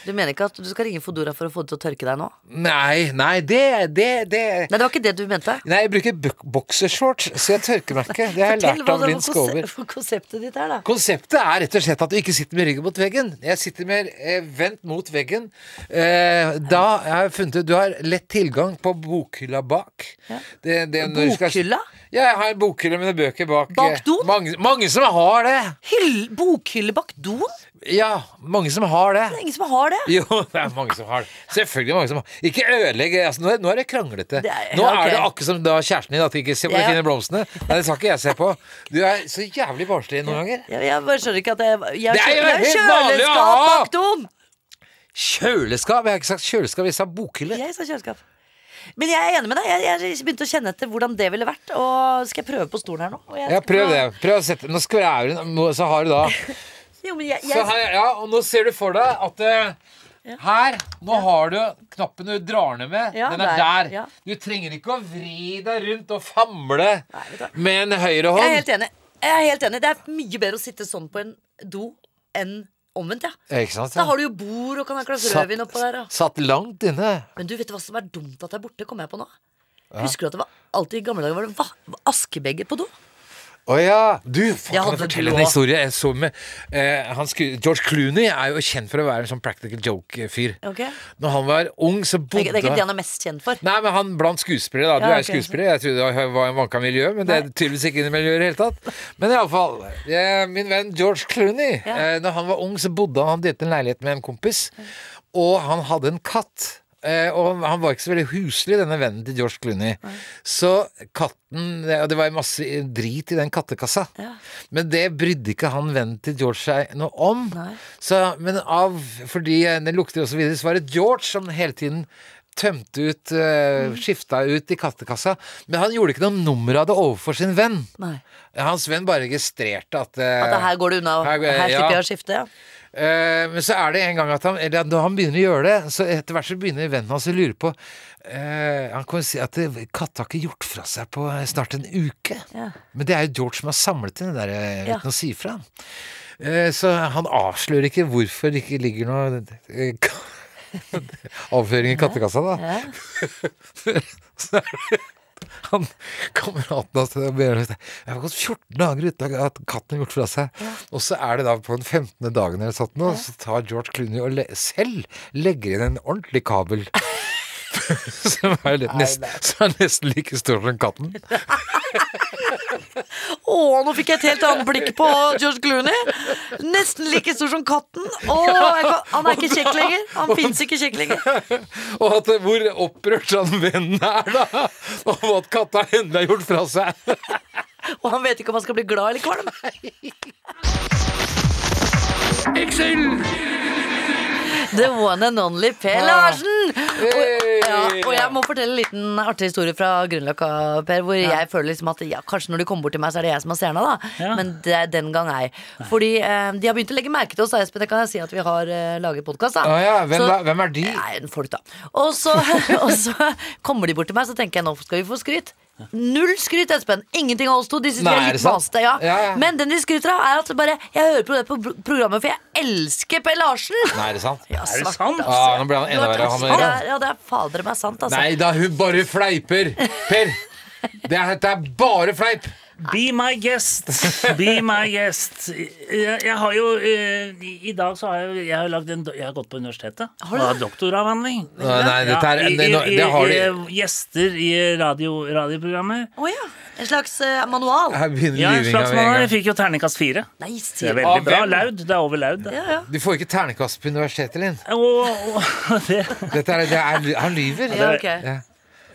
Speaker 3: Du mener ikke at du skal ringe Fodora for å få det til å tørke deg nå?
Speaker 2: Nei, nei, det, det, det
Speaker 3: Nei, det var ikke det du mente.
Speaker 2: Nei, jeg bruker bok- boksershorts, så jeg tørker meg ikke. Det har jeg
Speaker 3: Fortell
Speaker 2: lært
Speaker 3: (laughs) hva
Speaker 2: av
Speaker 3: det
Speaker 2: Linn Skåber.
Speaker 3: var konseptet ditt er, da.
Speaker 2: Konseptet er rett og slett at du ikke sitter med ryggen mot veggen. Jeg sitter med eh, vendt mot veggen. Eh, da har jeg funnet ut Du har lett tilgang på bokhylla bak. Det- det når du skal-
Speaker 3: Bokhylla?
Speaker 2: Ja, jeg har en bokhylle med noen bøker bak.
Speaker 3: Bak doen?
Speaker 2: Mange, mange som har det.
Speaker 3: Hyll, bokhylle bak doen?
Speaker 2: Ja, mange som har det.
Speaker 3: Det er ingen som har det.
Speaker 2: Jo, (laughs) det er mange som har det. Selvfølgelig mange som har Ikke ødelegg altså, nå, er- nå er det kranglete.
Speaker 3: Det er-
Speaker 2: nå
Speaker 3: ja, ok.
Speaker 2: er det akkurat som da kjæresten din. At du ikke ser på de
Speaker 3: Ja.
Speaker 2: fine blomstene. Nei, det skal ikke jeg se på. Du er så jævlig barnslig noen ganger.
Speaker 3: Jeg, jeg bare skjønner ikke at jeg Jeg,
Speaker 2: Det er jo
Speaker 3: jeg, jeg
Speaker 2: helt vanlig å
Speaker 3: kjøleskap
Speaker 2: ha!
Speaker 3: bak doen!
Speaker 2: Kjøleskap? Jeg har ikke sagt kjøleskap, jeg sa bokhylle.
Speaker 3: Jeg sa kjøleskap. Men jeg er enig med deg. Jeg, jeg begynte å kjenne etter hvordan det ville vært. Og skal jeg prøve på stolen her nå? Og jeg
Speaker 2: Ja,
Speaker 3: skal
Speaker 2: prøv det.
Speaker 3: prøve-
Speaker 2: Prøv å sette Nå skværer hun, nå- så har du
Speaker 3: (laughs)
Speaker 2: da
Speaker 3: Jo, men jeg,
Speaker 2: så
Speaker 3: jeg,
Speaker 2: her, Ja, og nå ser du for deg at eh, her, nå har du knappen du drar ned med.
Speaker 3: Ja,
Speaker 2: Den er
Speaker 3: der,
Speaker 2: der.
Speaker 3: ja.
Speaker 2: Du trenger ikke å vri deg rundt og famle
Speaker 3: vet du hva.
Speaker 2: med en høyre
Speaker 3: jeg er
Speaker 2: hånd.
Speaker 3: helt enig. Jeg er helt enig. Det er mye bedre å sitte sånn på en do enn omvendt, ja.
Speaker 2: Ja, Ikke sant?
Speaker 3: Da har du jo bord og kan ha et glass
Speaker 2: Satt-
Speaker 3: rødvin oppå der. Og.
Speaker 2: Satt langt inne.
Speaker 3: Men du vet du hva som er dumt at det er borte, kommer jeg på nå. Husker du at det var alltid i gamle dager var det va askebeger på do?
Speaker 2: Å ja. Du, faen,
Speaker 3: Jeg
Speaker 2: kan
Speaker 3: hadde
Speaker 2: jeg fortelle
Speaker 3: blå.
Speaker 2: en historie? Jeg så med, eh, han sku, George Clooney er jo kjent for å være en sånn practical joke-fyr.
Speaker 3: Ok.
Speaker 2: Når han var ung, så
Speaker 3: Det
Speaker 2: bodde
Speaker 3: er ikke det han er mest kjent for.
Speaker 2: Nei, men han blant skuespillere, da. Du er
Speaker 3: Ja, ok,
Speaker 2: jo skuespiller. Jeg trodde det var en vanka miljø, men det er tydeligvis ikke inne i miljøet i det hele tatt. Men iallfall. Min venn George Clooney. eh, Når han var ung, så bodde han Han delte en leilighet med en kompis, og han hadde en katt. Eh, og han var ikke så veldig huslig, denne vennen til George Clooney. Så katten Og det var masse drit i den kattekassa. Men det brydde ikke han vennen til George seg noe om.
Speaker 3: Nei.
Speaker 2: Så, men av Fordi eh, den lukter og så videre, så var det George som hele tiden tømte ut,
Speaker 3: Mm.
Speaker 2: uh, skifta ut i kattekassa. Men han gjorde ikke noe nummer av det overfor sin venn.
Speaker 3: Nei.
Speaker 2: Hans venn bare registrerte at, eh,
Speaker 3: At det her går det unna.
Speaker 2: Her
Speaker 3: Her,
Speaker 2: går- ja.
Speaker 3: slipper jeg å skifte. Ja.
Speaker 2: Eh, men så er det en gang at han, eller at når han begynner å gjøre det, så etter hvert så begynner vennen hans å lure på eh, Han kan jo si at eh, katta har ikke gjort fra seg på eh, snart en uke.
Speaker 3: Ja.
Speaker 2: Men det er jo George som har samlet inn det der eh,
Speaker 3: Ja.
Speaker 2: uten å si fra. Eh, så han avslører ikke hvorfor det ikke ligger noe eh, (laughs) ka- avføring i kattekassa, da.
Speaker 3: Ja.
Speaker 2: (laughs)
Speaker 3: (laughs)
Speaker 2: Så er det- han, kameraten hans det ber om- Jeg har gått 14 dager uten at katten har gjort fra seg. Og så er det da på den 15. dagen eller sånt nå, så tar George Clooney og le selv legger inn en ordentlig
Speaker 3: (laughs)
Speaker 2: kabel. som, er litt, nest, som er nesten like stor som katten.
Speaker 3: Å, nå fikk jeg et helt annet blikk på George Clooney. Nesten like stor som katten. Å, jeg kan, han er ikke kjekk lenger. Han fins ikke kjekk lenger.
Speaker 2: Og at, hvor opprørt han vennen er da, over at katta endelig har gjort fra seg.
Speaker 3: Og han vet ikke om han skal bli glad eller kvalm. The one and only
Speaker 2: Ah.
Speaker 3: Per Larsen! Og, ja, og jeg må fortelle en liten artig historie fra Grünerløkka, Per. Hvor jeg føler liksom at ja, kanskje når de kommer bort til meg, så er det jeg som er stjerna, da.
Speaker 9: Ja.
Speaker 3: Men det, er den gang ei. Fordi eh, de har begynt å legge merke til oss, da, Espen. Det kan jeg si at vi har eh, laget podkast, da.
Speaker 2: Å ja, hvem,
Speaker 3: Så-
Speaker 2: da, hvem er de?
Speaker 3: Nei, en folk, da. Og så, (laughs) og så kommer de bort til meg, så tenker jeg nå skal vi få skryt. Null skryt, Espen. Ingenting av oss to. De synes
Speaker 2: Nei,
Speaker 3: vi
Speaker 2: er
Speaker 3: er
Speaker 2: det
Speaker 3: litt
Speaker 2: sant?
Speaker 3: masete. Ja.
Speaker 2: Ja, ja.
Speaker 3: Men den de skryter av, er at det bare Jeg hører på det på pro- programmet, for jeg elsker Per Larsen!
Speaker 2: Nei, er det sant?
Speaker 3: Ja,
Speaker 9: Er det
Speaker 3: svart,
Speaker 9: sant?
Speaker 2: Ja, nå ble han enda verre. Han
Speaker 3: det
Speaker 2: der.
Speaker 3: er, ja, det er fader meg sant, altså.
Speaker 2: Nei da, hun bare fleiper! Per! Det er, det er bare fleip!
Speaker 9: Be my guest! Be my guest. Jeg, jeg har jo eh, I i dag så har jeg, jeg, har lagd en, do- jeg har gått på universitetet og har doktoravhandling.
Speaker 2: Nei, nei, dette er-
Speaker 9: Ja, i-
Speaker 2: det-
Speaker 9: i-
Speaker 2: det har
Speaker 9: i-
Speaker 2: de-
Speaker 9: i Gjester i radio, radioprogrammer.
Speaker 3: Å ja. En slags eh, manual.
Speaker 2: Her begynner
Speaker 9: Ja, en
Speaker 2: lyvinga
Speaker 9: slags
Speaker 2: med
Speaker 9: mann.
Speaker 2: en
Speaker 9: Jeg
Speaker 2: gang.
Speaker 9: fikk jo terningkast fire.
Speaker 3: Nei,
Speaker 9: Det er
Speaker 3: sier
Speaker 9: veldig
Speaker 2: Av
Speaker 9: bra.
Speaker 2: hvem?
Speaker 9: Laud. Det er over Laud. det.
Speaker 3: Ja, ja.
Speaker 2: Du får ikke ternekast på universitetet, Linn.
Speaker 9: Og, og det,
Speaker 2: Dette er, det er, han lyver.
Speaker 3: Ja, ok.
Speaker 2: Ja.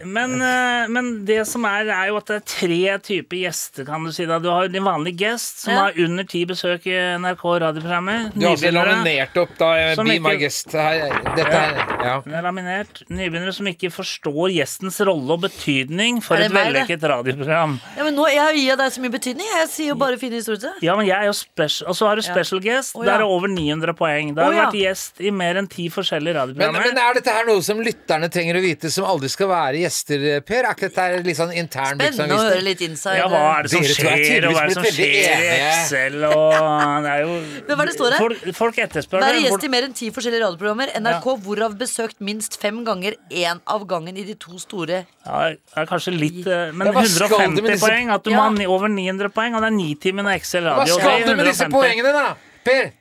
Speaker 9: men, eh, men det som er, er jo at det er tre typer gjester, kan du si. da Du har din vanlige guest, som
Speaker 3: Ja.
Speaker 9: har under ti besøk i NRK radioprogrammer.
Speaker 2: Du har også
Speaker 9: Nybegynnere.
Speaker 2: laminert opp da eh,
Speaker 9: Som
Speaker 2: Be my
Speaker 9: ikke-
Speaker 2: guest her. eh, Dette er ja.
Speaker 9: Den er laminert. Nybegynnere som ikke forstår gjestens rolle og betydning for
Speaker 3: Er det
Speaker 9: et
Speaker 3: meg, det?
Speaker 9: vellykket radioprogram.
Speaker 3: ja, men nå, Jeg gir jo deg så mye betydning. Jeg sier jo bare fine historier.
Speaker 9: Ja, men jeg er jo special Og så har du special guest.
Speaker 3: Å,
Speaker 9: Der
Speaker 3: ja.
Speaker 9: er det over 900 poeng. Da
Speaker 3: Å,
Speaker 9: har du
Speaker 3: ja.
Speaker 9: vært gjest i mer enn ti
Speaker 2: men,
Speaker 9: forskjellige radioprogrammer.
Speaker 2: men er dette her noe som lytterne trenger å vite, som aldri skal være gjester, eh, Per? Er ikke dette her litt sånn intern
Speaker 3: Spennende å høre
Speaker 2: virksomhet?
Speaker 3: litt inside.
Speaker 9: ja, hva er det som
Speaker 2: Dere to er
Speaker 9: skjer, og hva er det
Speaker 2: tydeligvis
Speaker 9: som
Speaker 2: blitt veldig
Speaker 9: skjer i
Speaker 2: enige.
Speaker 9: Excel, og det er jo
Speaker 3: (laughs) Men hva er det står her?
Speaker 9: Folk, folk etterspør
Speaker 3: Være
Speaker 9: det.
Speaker 3: gjest i mer enn ti forskjellige radioprogrammer. NRK, hvorav besøkt minst fem ganger. Én av gangen i de to store.
Speaker 9: Ja, det er kanskje litt eh, Men
Speaker 2: Ja, hva skal du med
Speaker 9: 150
Speaker 2: disse-
Speaker 9: poeng. At du
Speaker 3: Ja.
Speaker 9: må ha ni- over 900 poeng, og det er nitimen av Excel
Speaker 2: Hva
Speaker 9: radio.
Speaker 2: skal
Speaker 9: det
Speaker 2: du
Speaker 9: er
Speaker 2: med disse
Speaker 9: 150.
Speaker 2: poengene, da? Per?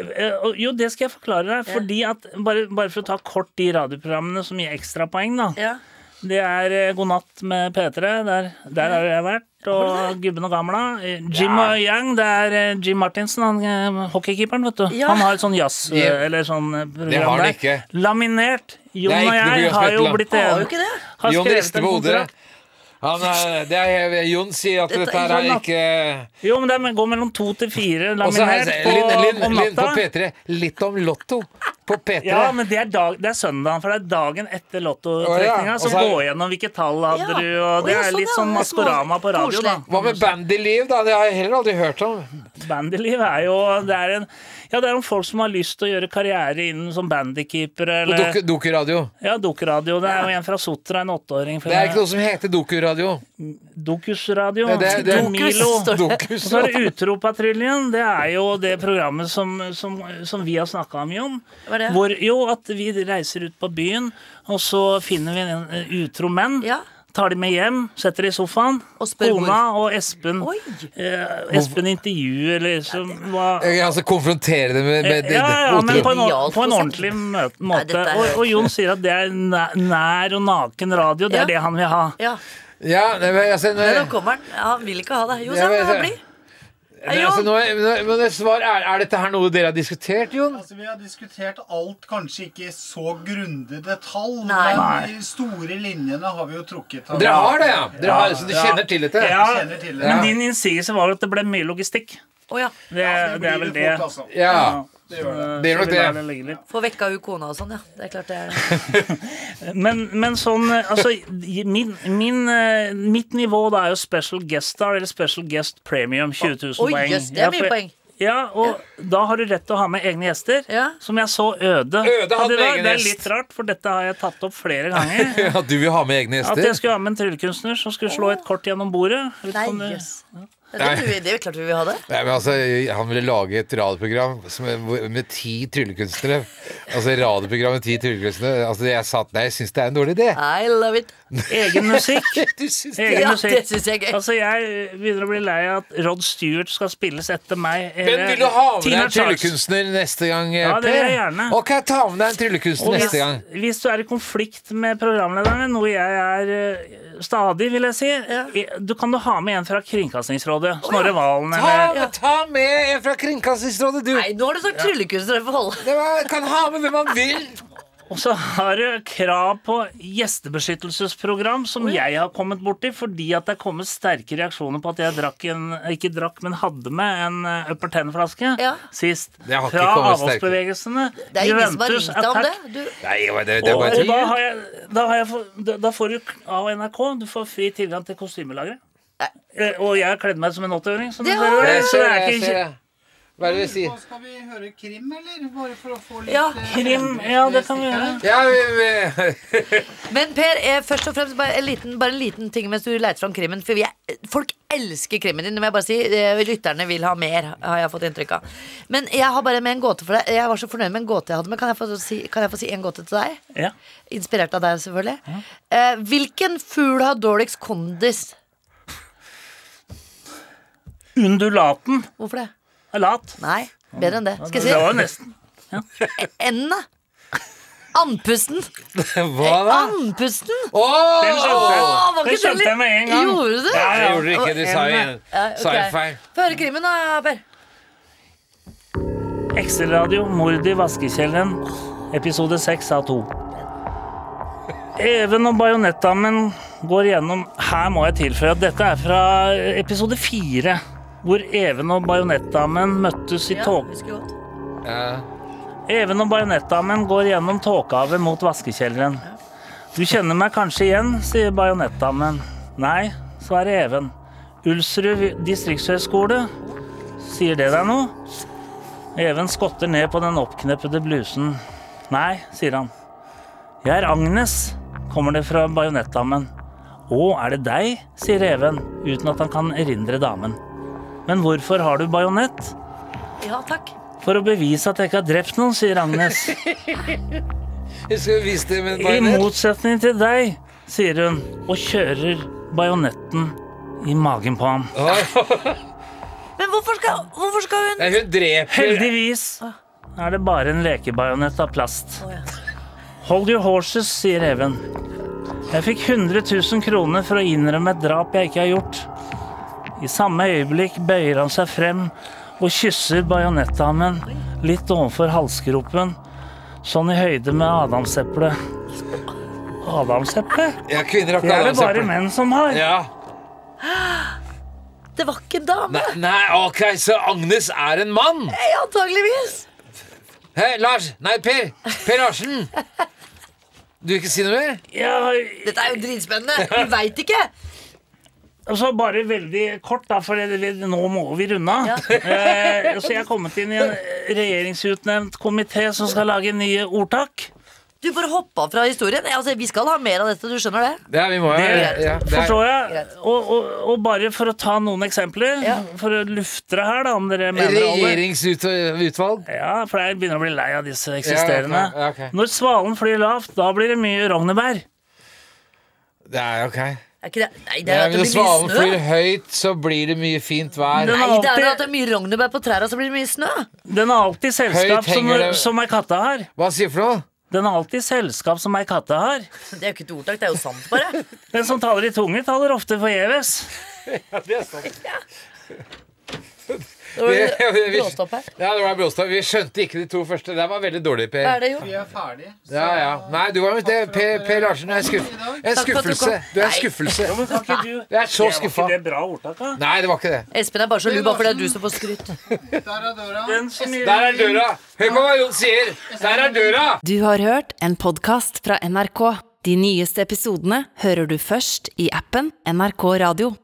Speaker 9: Eh, og- Jo, det skal jeg forklare deg. Fordi at, bare, bare for å ta kort de radioprogrammene som gir ekstrapoeng, da.
Speaker 3: Ja.
Speaker 9: Det er eh, God natt med P3. Der, der har jeg vært. Og Gubben og Gamla. Eh, Jim og Yang. Det er eh, Jim Martinsen, han eh, hockeykeeperen, vet du.
Speaker 3: Ja.
Speaker 9: Han har et sånn jazz... eh,
Speaker 2: Ja.
Speaker 9: Eller sånn eh, program
Speaker 2: Det har han
Speaker 9: der.
Speaker 2: ikke.
Speaker 9: Laminert. Jon
Speaker 2: Det er
Speaker 9: og
Speaker 2: ikke noe Bjørn
Speaker 9: jeg har jo
Speaker 2: Smetland.
Speaker 9: blitt
Speaker 3: Har jo
Speaker 9: en-
Speaker 3: ikke det.
Speaker 9: har
Speaker 2: Jon
Speaker 9: skrevet
Speaker 2: rister
Speaker 9: en
Speaker 2: på hodet.
Speaker 9: kontrakt.
Speaker 2: Han er, det er, Jon sier at
Speaker 3: Dette-
Speaker 2: dette her er
Speaker 3: Jon, da.
Speaker 2: ikke
Speaker 9: Jo, men det går mellom to til fire
Speaker 2: Og så her,
Speaker 9: sånn laminert på,
Speaker 2: Linn, Linn,
Speaker 9: om
Speaker 2: Linn på
Speaker 9: natta.
Speaker 2: P3. Litt om Lotto på P3.
Speaker 9: Ja, men det er, dag, det er søndagen, for det er dagen
Speaker 2: Å,
Speaker 9: etter
Speaker 2: ja.
Speaker 9: lottotrekninga
Speaker 2: Og
Speaker 9: som
Speaker 2: så er-
Speaker 9: går gjennom hvilke tall
Speaker 3: Ja.
Speaker 9: hadde du, og det
Speaker 3: Å, ja,
Speaker 9: er
Speaker 3: sånn,
Speaker 9: litt
Speaker 3: ja.
Speaker 9: sånn Maskorama på radio, da.
Speaker 3: Koselig.
Speaker 2: Hva med Bandyliv, da? Det har jeg heller aldri hørt om.
Speaker 9: Bandyliv er jo det er, en, ja, det er om folk som har lyst til å gjøre karriere innen som bandykeeper
Speaker 2: På
Speaker 9: eller
Speaker 2: doku- Dokuradio.
Speaker 9: ja, Dokuradio. Det er jo en fra Sotra, en åtteåring. fra-
Speaker 2: Det er ikke noe som heter dokuradio.
Speaker 9: Dokusradio.
Speaker 2: Nei, det er- det er-
Speaker 3: Dokus,
Speaker 9: Milo.
Speaker 3: står det.
Speaker 9: Og så er det Utropatruljen. Det er jo det programmet som, som, som vi har snakka om, Jon.
Speaker 3: Hva er det?
Speaker 9: Hvor, jo, at vi reiser ut på byen, og så finner vi en eh, utro menn.
Speaker 3: Ja.
Speaker 9: Tar de med hjem, setter de i sofaen.
Speaker 3: Og spør
Speaker 9: Kona og Espen.
Speaker 3: Oi.
Speaker 9: Eh, Espen intervjuer, liksom. Hva,
Speaker 2: Jeg, altså konfrontere det med, med det,
Speaker 9: Eh, ja, ja,
Speaker 2: det-
Speaker 9: men på en, or-
Speaker 3: Genialt
Speaker 9: på en
Speaker 3: konsept.
Speaker 9: ordentlig mø- måte.
Speaker 3: dette er-
Speaker 9: og, og Jon sier at det er næ- nær og naken radio. Det
Speaker 3: Ja.
Speaker 9: er det han vil ha.
Speaker 3: Ja,
Speaker 2: ja, nei, men altså, nå-
Speaker 3: men nå kommer han. Ja, han vil ikke ha deg. Jo,
Speaker 2: Ja,
Speaker 3: så
Speaker 2: men-
Speaker 3: han blir.
Speaker 2: men altså, nå- nå- men det svar er, er dette her noe dere har diskutert, Jon?
Speaker 7: Altså, Vi har diskutert alt, kanskje ikke i så grundig detalj,
Speaker 3: Nei.
Speaker 7: men de store linjene har vi jo trukket. av.
Speaker 2: Dere har det, ja? Dere har, så dere
Speaker 9: Ja.
Speaker 2: kjenner til dette?
Speaker 9: Ja,
Speaker 7: Kjenner til det.
Speaker 9: men din innsigelse var jo at det ble mye logistikk.
Speaker 3: Å ja.
Speaker 9: Det,
Speaker 7: Ja,
Speaker 9: eh, det er vel det. eh,
Speaker 7: Fort, altså.
Speaker 2: Ja.
Speaker 7: det gjør det.
Speaker 2: Det er nok
Speaker 9: Så vi lar
Speaker 2: det.
Speaker 9: ligge litt.
Speaker 3: Få vekka hun kona og sånn, ja. Det er klart det
Speaker 9: (laughs)
Speaker 3: er
Speaker 9: Men, men sånn eh, Altså, min, min, eh, mitt nivå da er jo special guest star eller special guest premium 20 000
Speaker 3: Oi,
Speaker 9: poeng.
Speaker 3: jøss, det er
Speaker 9: Ja,
Speaker 3: mye
Speaker 9: for-
Speaker 3: poeng.
Speaker 9: Ja, og da har du rett til å ha med egne gjester,
Speaker 3: Ja.
Speaker 9: som jeg så Øde.
Speaker 2: Øde hadde
Speaker 9: det,
Speaker 2: med
Speaker 9: var-
Speaker 2: egen
Speaker 9: det er
Speaker 2: gjest.
Speaker 9: litt rart, for dette har jeg tatt opp flere ganger.
Speaker 2: At du vil ha med egne
Speaker 9: At
Speaker 2: (laughs)
Speaker 9: jeg
Speaker 2: gjester?
Speaker 9: skulle ha med en tryllekunstner som skulle slå et kort gjennom bordet. Litt
Speaker 3: Nei,
Speaker 9: sånn, eh,
Speaker 3: jøss. Ja, Det, tror vi- det er klart vi vil ha det.
Speaker 2: Nei, men altså, han ville lage et radioprogram som, hvor- med ti tryllekunstnere. Altså radioprogram med ti tryllekunstnere. Altså, jeg satt, nei, jeg syns det er en dårlig idé. (laughs)
Speaker 3: I love it.
Speaker 9: Egen musikk.
Speaker 2: Du syns det?
Speaker 9: Egen
Speaker 3: Ja,
Speaker 9: musikk.
Speaker 3: det synes jeg er gøy.
Speaker 9: Altså, jeg begynner å bli lei av at Rod Stewart skal spilles etter meg. Eh,
Speaker 2: Men vil du ha med deg
Speaker 9: Tina
Speaker 2: en
Speaker 9: Charles.
Speaker 2: tryllekunstner neste gang,
Speaker 9: Ja, det vil
Speaker 2: Per?
Speaker 9: jeg gjerne.
Speaker 2: Ok, ta med deg en tryllekunstner
Speaker 9: Og
Speaker 2: neste
Speaker 9: hvis,
Speaker 2: gang.
Speaker 9: hvis du er i konflikt med programlederne, noe jeg er eh, stadig, vil jeg si i- Du kan jo ha med en fra Kringkastingsrådet. Snorre Valen
Speaker 2: Ta,
Speaker 9: eller
Speaker 2: ta med en fra Kringkastingsrådet, du.
Speaker 3: Nei, nå har du sagt tryllekunstner for holde.
Speaker 2: Det var, kan ha med hvem man vil.
Speaker 9: Og så har du krav på gjestebeskyttelsesprogram, som jeg har kommet borti fordi at det er kommet sterke reaksjoner på at jeg drakk en, ikke drakk, men hadde med en eh, Upper Ten-flaske
Speaker 3: Ja.
Speaker 9: sist.
Speaker 2: Det har ikke
Speaker 9: Fra
Speaker 2: kommet sterke.
Speaker 9: avholdsbevegelsene.
Speaker 3: Det er ingen som har
Speaker 9: Juventus,
Speaker 3: ringt deg om
Speaker 9: Attack.
Speaker 3: det. Du,
Speaker 2: Nei, det, det er
Speaker 9: Og
Speaker 2: bare
Speaker 9: da,
Speaker 2: tull.
Speaker 9: har jeg, da, har jeg, få- da- da får du av NRK Du får fri tilgang til kostymelageret. Eh, Og jeg har kledd meg som en 80-åring. Så,
Speaker 3: Det
Speaker 9: det
Speaker 3: har
Speaker 9: ser du.
Speaker 2: Jeg
Speaker 9: så
Speaker 2: ser
Speaker 9: det
Speaker 2: det,
Speaker 9: er
Speaker 2: jeg ser
Speaker 9: ikke
Speaker 2: det. Hva er det du sier?
Speaker 7: Skal vi høre krim, eller? Bare for å få litt
Speaker 3: Ja,
Speaker 7: eh,
Speaker 9: krim. Ja, det kan vi gjøre.
Speaker 2: Ja, vi, vi,
Speaker 3: Men Per, eh, først og fremst bare en liten, bare en liten ting mens du leter fram krimmen. For vi er, folk elsker krimmen din. Det må jeg bare si. Eh, Lytterne vil ha mer, har jeg fått inntrykk av. Men jeg har bare med en gåte for deg. Jeg var så fornøyd med en gåte jeg hadde. Men kan jeg få si, kan jeg få si en gåte til deg?
Speaker 9: Ja.
Speaker 3: Inspirert av deg, selvfølgelig. Eh, hvilken fugl har dårligst kondis?
Speaker 9: Undulaten
Speaker 3: Hvorfor det?
Speaker 9: er lat.
Speaker 3: Nei, bedre enn det. Skal
Speaker 9: Det
Speaker 3: jeg
Speaker 9: var jo nesten
Speaker 3: si endene? Andpusten.
Speaker 2: hva da?
Speaker 3: Andpusten!
Speaker 2: Åh!
Speaker 9: Den skjønte jeg.
Speaker 3: Åh, var
Speaker 9: Det
Speaker 3: ikke
Speaker 9: skjønte jeg med en gang.
Speaker 3: Gjorde du det?
Speaker 9: Ja,
Speaker 2: Jeg gjorde det ikke, du sa
Speaker 3: Ja,
Speaker 2: en
Speaker 3: ok.
Speaker 2: sa en feil.
Speaker 3: Få høre krimmen da, Per.
Speaker 9: Ekstraradio, mord i vaskekjelleren, episode 6 av 2. Even og bajonettdamen går gjennom Her må jeg tilføye at dette er fra episode 4, hvor Even og bajonettdamen møttes i tåke...
Speaker 3: husker godt.
Speaker 2: Ja.
Speaker 9: Even og bajonettdamen går gjennom tåkehavet mot vaskekjelleren. Du kjenner meg kanskje igjen, sier bajonettdamen. Nei, svarer Even. Ulsrud distriktshøgskole, sier det deg noe? Even skotter ned på den oppkneppede blusen. Nei, sier han. Jeg er Agnes, kommer det fra bajonettdamen. Å, er det deg? sier Even, uten at han kan erindre damen. Men hvorfor har du bajonett?
Speaker 3: Ja, takk.
Speaker 9: For å bevise at jeg ikke har drept noen, sier Agnes.
Speaker 2: Jeg skulle vise det med en
Speaker 9: I
Speaker 2: bajonett.
Speaker 9: motsetning til deg, sier hun, og kjører bajonetten i magen på ham.
Speaker 2: Åh,
Speaker 3: Men hvorfor skal, hvorfor skal hun
Speaker 2: Nei, hun dreper
Speaker 9: Heldigvis er det bare en lekebajonett av plast. Hold your horses, sier Even. Jeg fikk 100 000 kroner for å innrømme et drap jeg ikke har gjort. I samme øyeblikk bøyer han seg frem og kysser bajonettdamen litt ovenfor halsgropen, sånn i høyde med adamseplet. Adamseple?
Speaker 2: Ja, kvinner har
Speaker 9: Det
Speaker 2: ikke
Speaker 9: er det bare
Speaker 2: adamsepler.
Speaker 9: menn som har.
Speaker 2: Ja.
Speaker 3: Det var ikke en dame,
Speaker 2: Nei, nei, ok, så Agnes er en mann?
Speaker 3: antageligvis.
Speaker 2: Hei, Lars. Nei, Per. Per Larsen. Du vil ikke si noe mer?
Speaker 9: Ja,
Speaker 3: Dette er jo (laughs) dritspennende. Vi veit ikke.
Speaker 9: Og så altså, bare veldig kort, da, for det, vi, nå må vi runde av. Eh, så jeg er kommet inn i en regjeringsutnevnt komité som skal lage nye ordtak.
Speaker 3: Du bare hoppa fra historien. Altså, Vi skal ha mer av dette, du skjønner det?
Speaker 2: Ja, vi må jo
Speaker 9: Det
Speaker 2: ja, det er-
Speaker 9: forstår jeg.
Speaker 3: Greit.
Speaker 9: Og, og, og bare for å ta noen eksempler,
Speaker 3: Ja.
Speaker 9: for å lufte det her, da, om dere mener det holder.
Speaker 2: Regjeringsutvalg?
Speaker 9: Ja, for jeg begynner å bli lei av disse eksisterende.
Speaker 2: Ja, ok, ja, ok.
Speaker 9: Når svalen flyr lavt, da blir det mye rognebær.
Speaker 2: Det er ok.
Speaker 3: Er ikke det? Nei, det
Speaker 2: Det
Speaker 3: er
Speaker 2: er
Speaker 3: at det
Speaker 2: Når
Speaker 3: blir mye
Speaker 2: svalen
Speaker 3: snø.
Speaker 2: flyr høyt, så blir det mye fint vær.
Speaker 9: Den
Speaker 3: Nei,
Speaker 9: har
Speaker 3: det er
Speaker 9: alltid,
Speaker 3: at det er mye rognebær på trærne, så blir det mye snø.
Speaker 9: den har alltid selskap som,
Speaker 2: henger det-
Speaker 9: som ei katta har.
Speaker 2: Hva sier du for noe?
Speaker 9: Den har alltid selskap som ei katta har.
Speaker 3: Det er jo ikke et ordtak, det er jo sant, (laughs) bare.
Speaker 9: Den som taler i tunge, taler ofte forgjeves.
Speaker 3: Det var
Speaker 2: Ja, vi- vi-
Speaker 3: bråstopp her.
Speaker 2: Ja, det var Bråstad. Vi skjønte ikke de to første. Det var veldig dårlig,
Speaker 3: Hva
Speaker 2: Per.
Speaker 3: er det, jo?
Speaker 7: Vi er ferdige. Så
Speaker 2: Ja, ja. Nei, du var jo det. Per, per Larsen, du er en skuff- en
Speaker 3: Takk for at du kom.
Speaker 2: skuffelse. Du er en skuffelse.
Speaker 9: Kan ikke du
Speaker 2: Jeg er så
Speaker 9: Det var
Speaker 2: skuffa.
Speaker 9: ikke det bra ordtaket?
Speaker 2: Nei, det var ikke det.
Speaker 3: Espen er bare så lu bare fordi det er du som får skryt.
Speaker 7: Der er døra.
Speaker 9: Den som gjør-
Speaker 2: Der er døra! Hør på hva Jon sier! Der er døra!
Speaker 1: Du har hørt en podkast fra NRK. De nyeste episodene hører du først i appen NRK Radio.